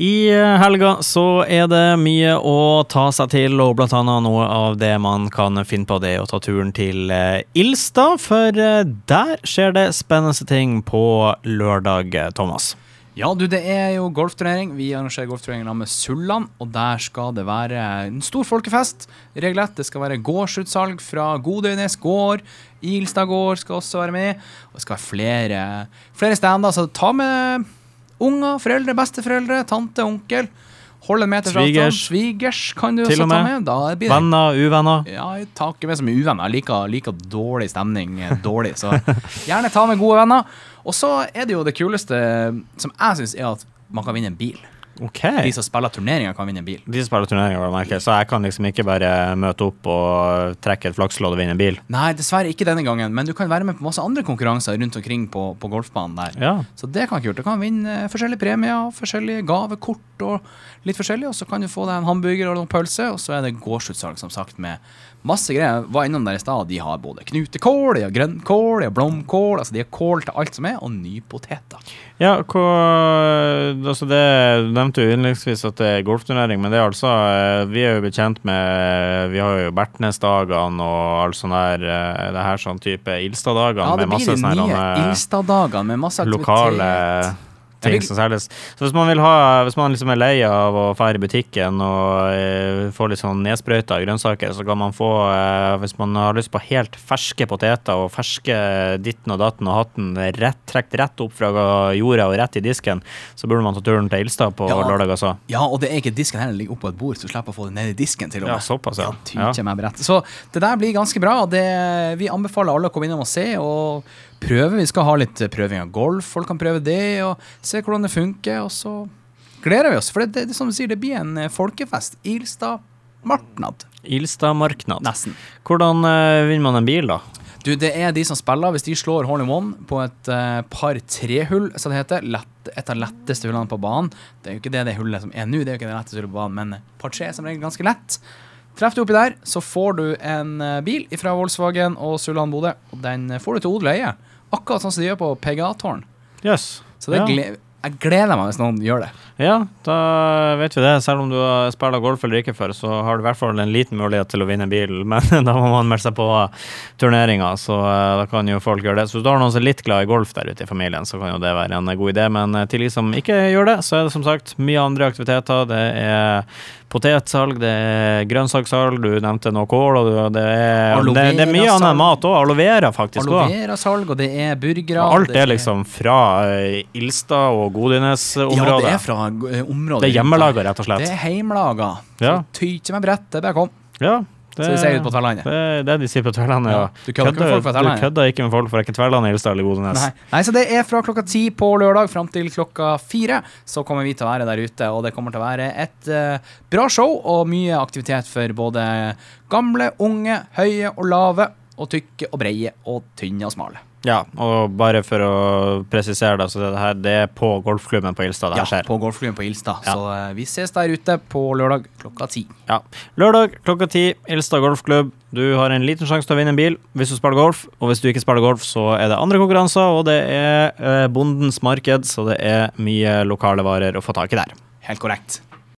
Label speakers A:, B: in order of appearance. A: I eh, helga så er det mye å ta seg til, og blant annet noe av det man kan finne på, det er å ta turen til eh, Ilstad, for eh, der skjer det spennende ting på lørdag, eh, Thomas.
B: Ja, du, det er jo golfturnering. Vi arrangerer golfturnering sammen med Sulland, og der skal det være en stor folkefest. Regelrett. Det skal være gårdsutsalg fra Godøynes gård. Ilstad gård skal også være med. Og det skal være flere, flere stander, så ta med unger, foreldre, besteforeldre, tante, onkel. Hold en meters avstand.
A: Svigers.
B: Svigers kan du
A: Til
B: også
A: og
B: ta
A: med.
B: med. Da blir det
A: Venner, uvenner.
B: ja, jeg tar ikke med så mye uvenner. Jeg liker, liker dårlig stemning eh, dårlig, så gjerne ta med gode venner. Og så er det jo det kuleste som jeg syns er at man kan vinne en bil.
A: Ok.
B: De som spiller turneringer, kan vinne en bil.
A: De spiller turneringer, var det merket, så jeg kan liksom ikke bare møte opp og trekke et flakslodd og vinne en bil.
B: Nei, dessverre ikke denne gangen, men du kan være med på masse andre konkurranser rundt omkring på, på golfbanen der.
A: Ja.
B: Så det kan være kult. Du kan vinne eh, forskjellige premier, forskjellige gavekort og litt forskjellig. Og så kan du få deg en hamburger og noen pølser, og så er det gårdsutsalg, som sagt, med masse greier. Jeg Var innom der i stad, de har både knutekål, de har grønnkål, de har blomkål. Altså de har kål til alt som er, og nypoteter.
A: Ja, hva, altså det du nevnte jo innledningsvis at det er golfturnering, men det er altså eh, Vi er jo bekjent med Vi har jo Bertnesdagene og all sånn her eh, Det her sånn type Ilstad-dagene
B: Ja, det
A: med
B: blir de
A: masse sånne
B: nye
A: her, eh,
B: Ilstad-dagene med masse aktivitet.
A: lokale
B: Jeg
A: ting
B: vil-
A: som selges. Så hvis man vil ha Hvis man liksom er lei av å fære i butikken og eh, få litt sånn nedsprøyta grønnsaker, så kan man få eh, Hvis man har lyst på helt ferske poteter og ferske ditten og datten og hatten rett, trukket rett opp fra jorda og rett i disken, så burde man ta turen til Ilstad på
B: Ja.
A: lørdag, altså.
B: Ja, og det er ikke disken her, den ligger oppå et bord, så du slipper å få det ned i disken til og
A: Ja,
B: med.
A: såpass, Altså, ja.
B: Ja, ty kjem jeg berett. Så det der blir ganske bra. og Det, vi anbefaler alle å komme innom og se og prøve. Vi skal ha litt prøving av golf, folk kan prøve det, og se hvordan det funker. Og så gleder vi oss, for det, det, det er som du sier, det blir en eh, folkefest. Ilstad Martnad,
A: Ilstad marknad.
B: nesten.
A: Hvordan eh, vinner man en bil, da?
B: Du, det er de som spiller. Hvis de slår hole in one på et eh, par tre-hull, som det heter, lett, et av de letteste hullene på banen Det er jo ikke det det hullet som er nå, det er jo ikke det letteste hullet på banen, men par tre er som regel ganske lett. Treffer du oppi der, så får du en eh, bil fra Volkswagen og Sulland Bodø. Og den får du til odel og eie. Akkurat sånn som de gjør på PGA-tårn.
A: Jøss.
B: Så det
A: Ja.
B: gle jeg gleder meg hvis noen gjør det.
A: Ja, da vet vi det. Selv om du har spiller golf eller ikke før, så har du i hvert fall en liten mulighet til å vinne bil, men da må man melde seg på turneringa, så eh, da kan jo folk gjøre det. Så hvis du har noen som er litt glad i golf der ute i familien, så kan jo det være en god idé. Men eh, til de som ikke gjør det, så er det som sagt mye andre aktiviteter. Det er potetsalg, det er grønnsakssalg, du nevnte noe kål, og du- det er,
B: Aloe
A: det, det er mye
B: vera-salg.
A: annet enn mat òg. Aloe vera, faktisk.
B: Aloe
A: Også.
B: vera-salg, og det er burgere.
A: Og alt
B: det
A: er liksom fra eh, Ilstad og
B: Ja, det
A: Godines-området.
B: er fra eh, området.
A: det er
B: rundt der.
A: hjemmelaga, rett og slett.
B: Det er heimlaga. Så
A: Ja.
B: ty ikke meg brett, det er bare kom.
A: Ja, det,
B: Så de sier ute på Tverlandet.
A: det er det de sier på Tverlandet, ja.
B: Ja, du kødder ikke med folk fra Tverlandet.
A: Du kødder ikke med folk fra ikke Tverlandet, Ilstad eller Godnes.
B: Nei. Nei, så det er fra klokka ti på lørdag fram til klokka fire. Så kommer vi til å være der ute, og det kommer til å være et eh, bra show og mye aktivitet for både gamle, unge, høye og lave, og tykke og breie og tynne og smale.
A: Ja, og bare for å presisere det, så det, her, det er på golfklubben på Ilstad det her
B: Ja,
A: skjer.
B: på golfklubben på Ilstad.
A: Ja.
B: Så eh, vi ses der ute på lørdag klokka ti.
A: Ja. Lørdag klokka ti, Ilstad golfklubb. Du har en liten sjanse til å vinne en bil hvis du spiller golf, og hvis du ikke spiller golf, så er det andre konkurranser, og det er eh, Bondens marked, så det er mye lokale varer å få tak i der.
B: Helt korrekt.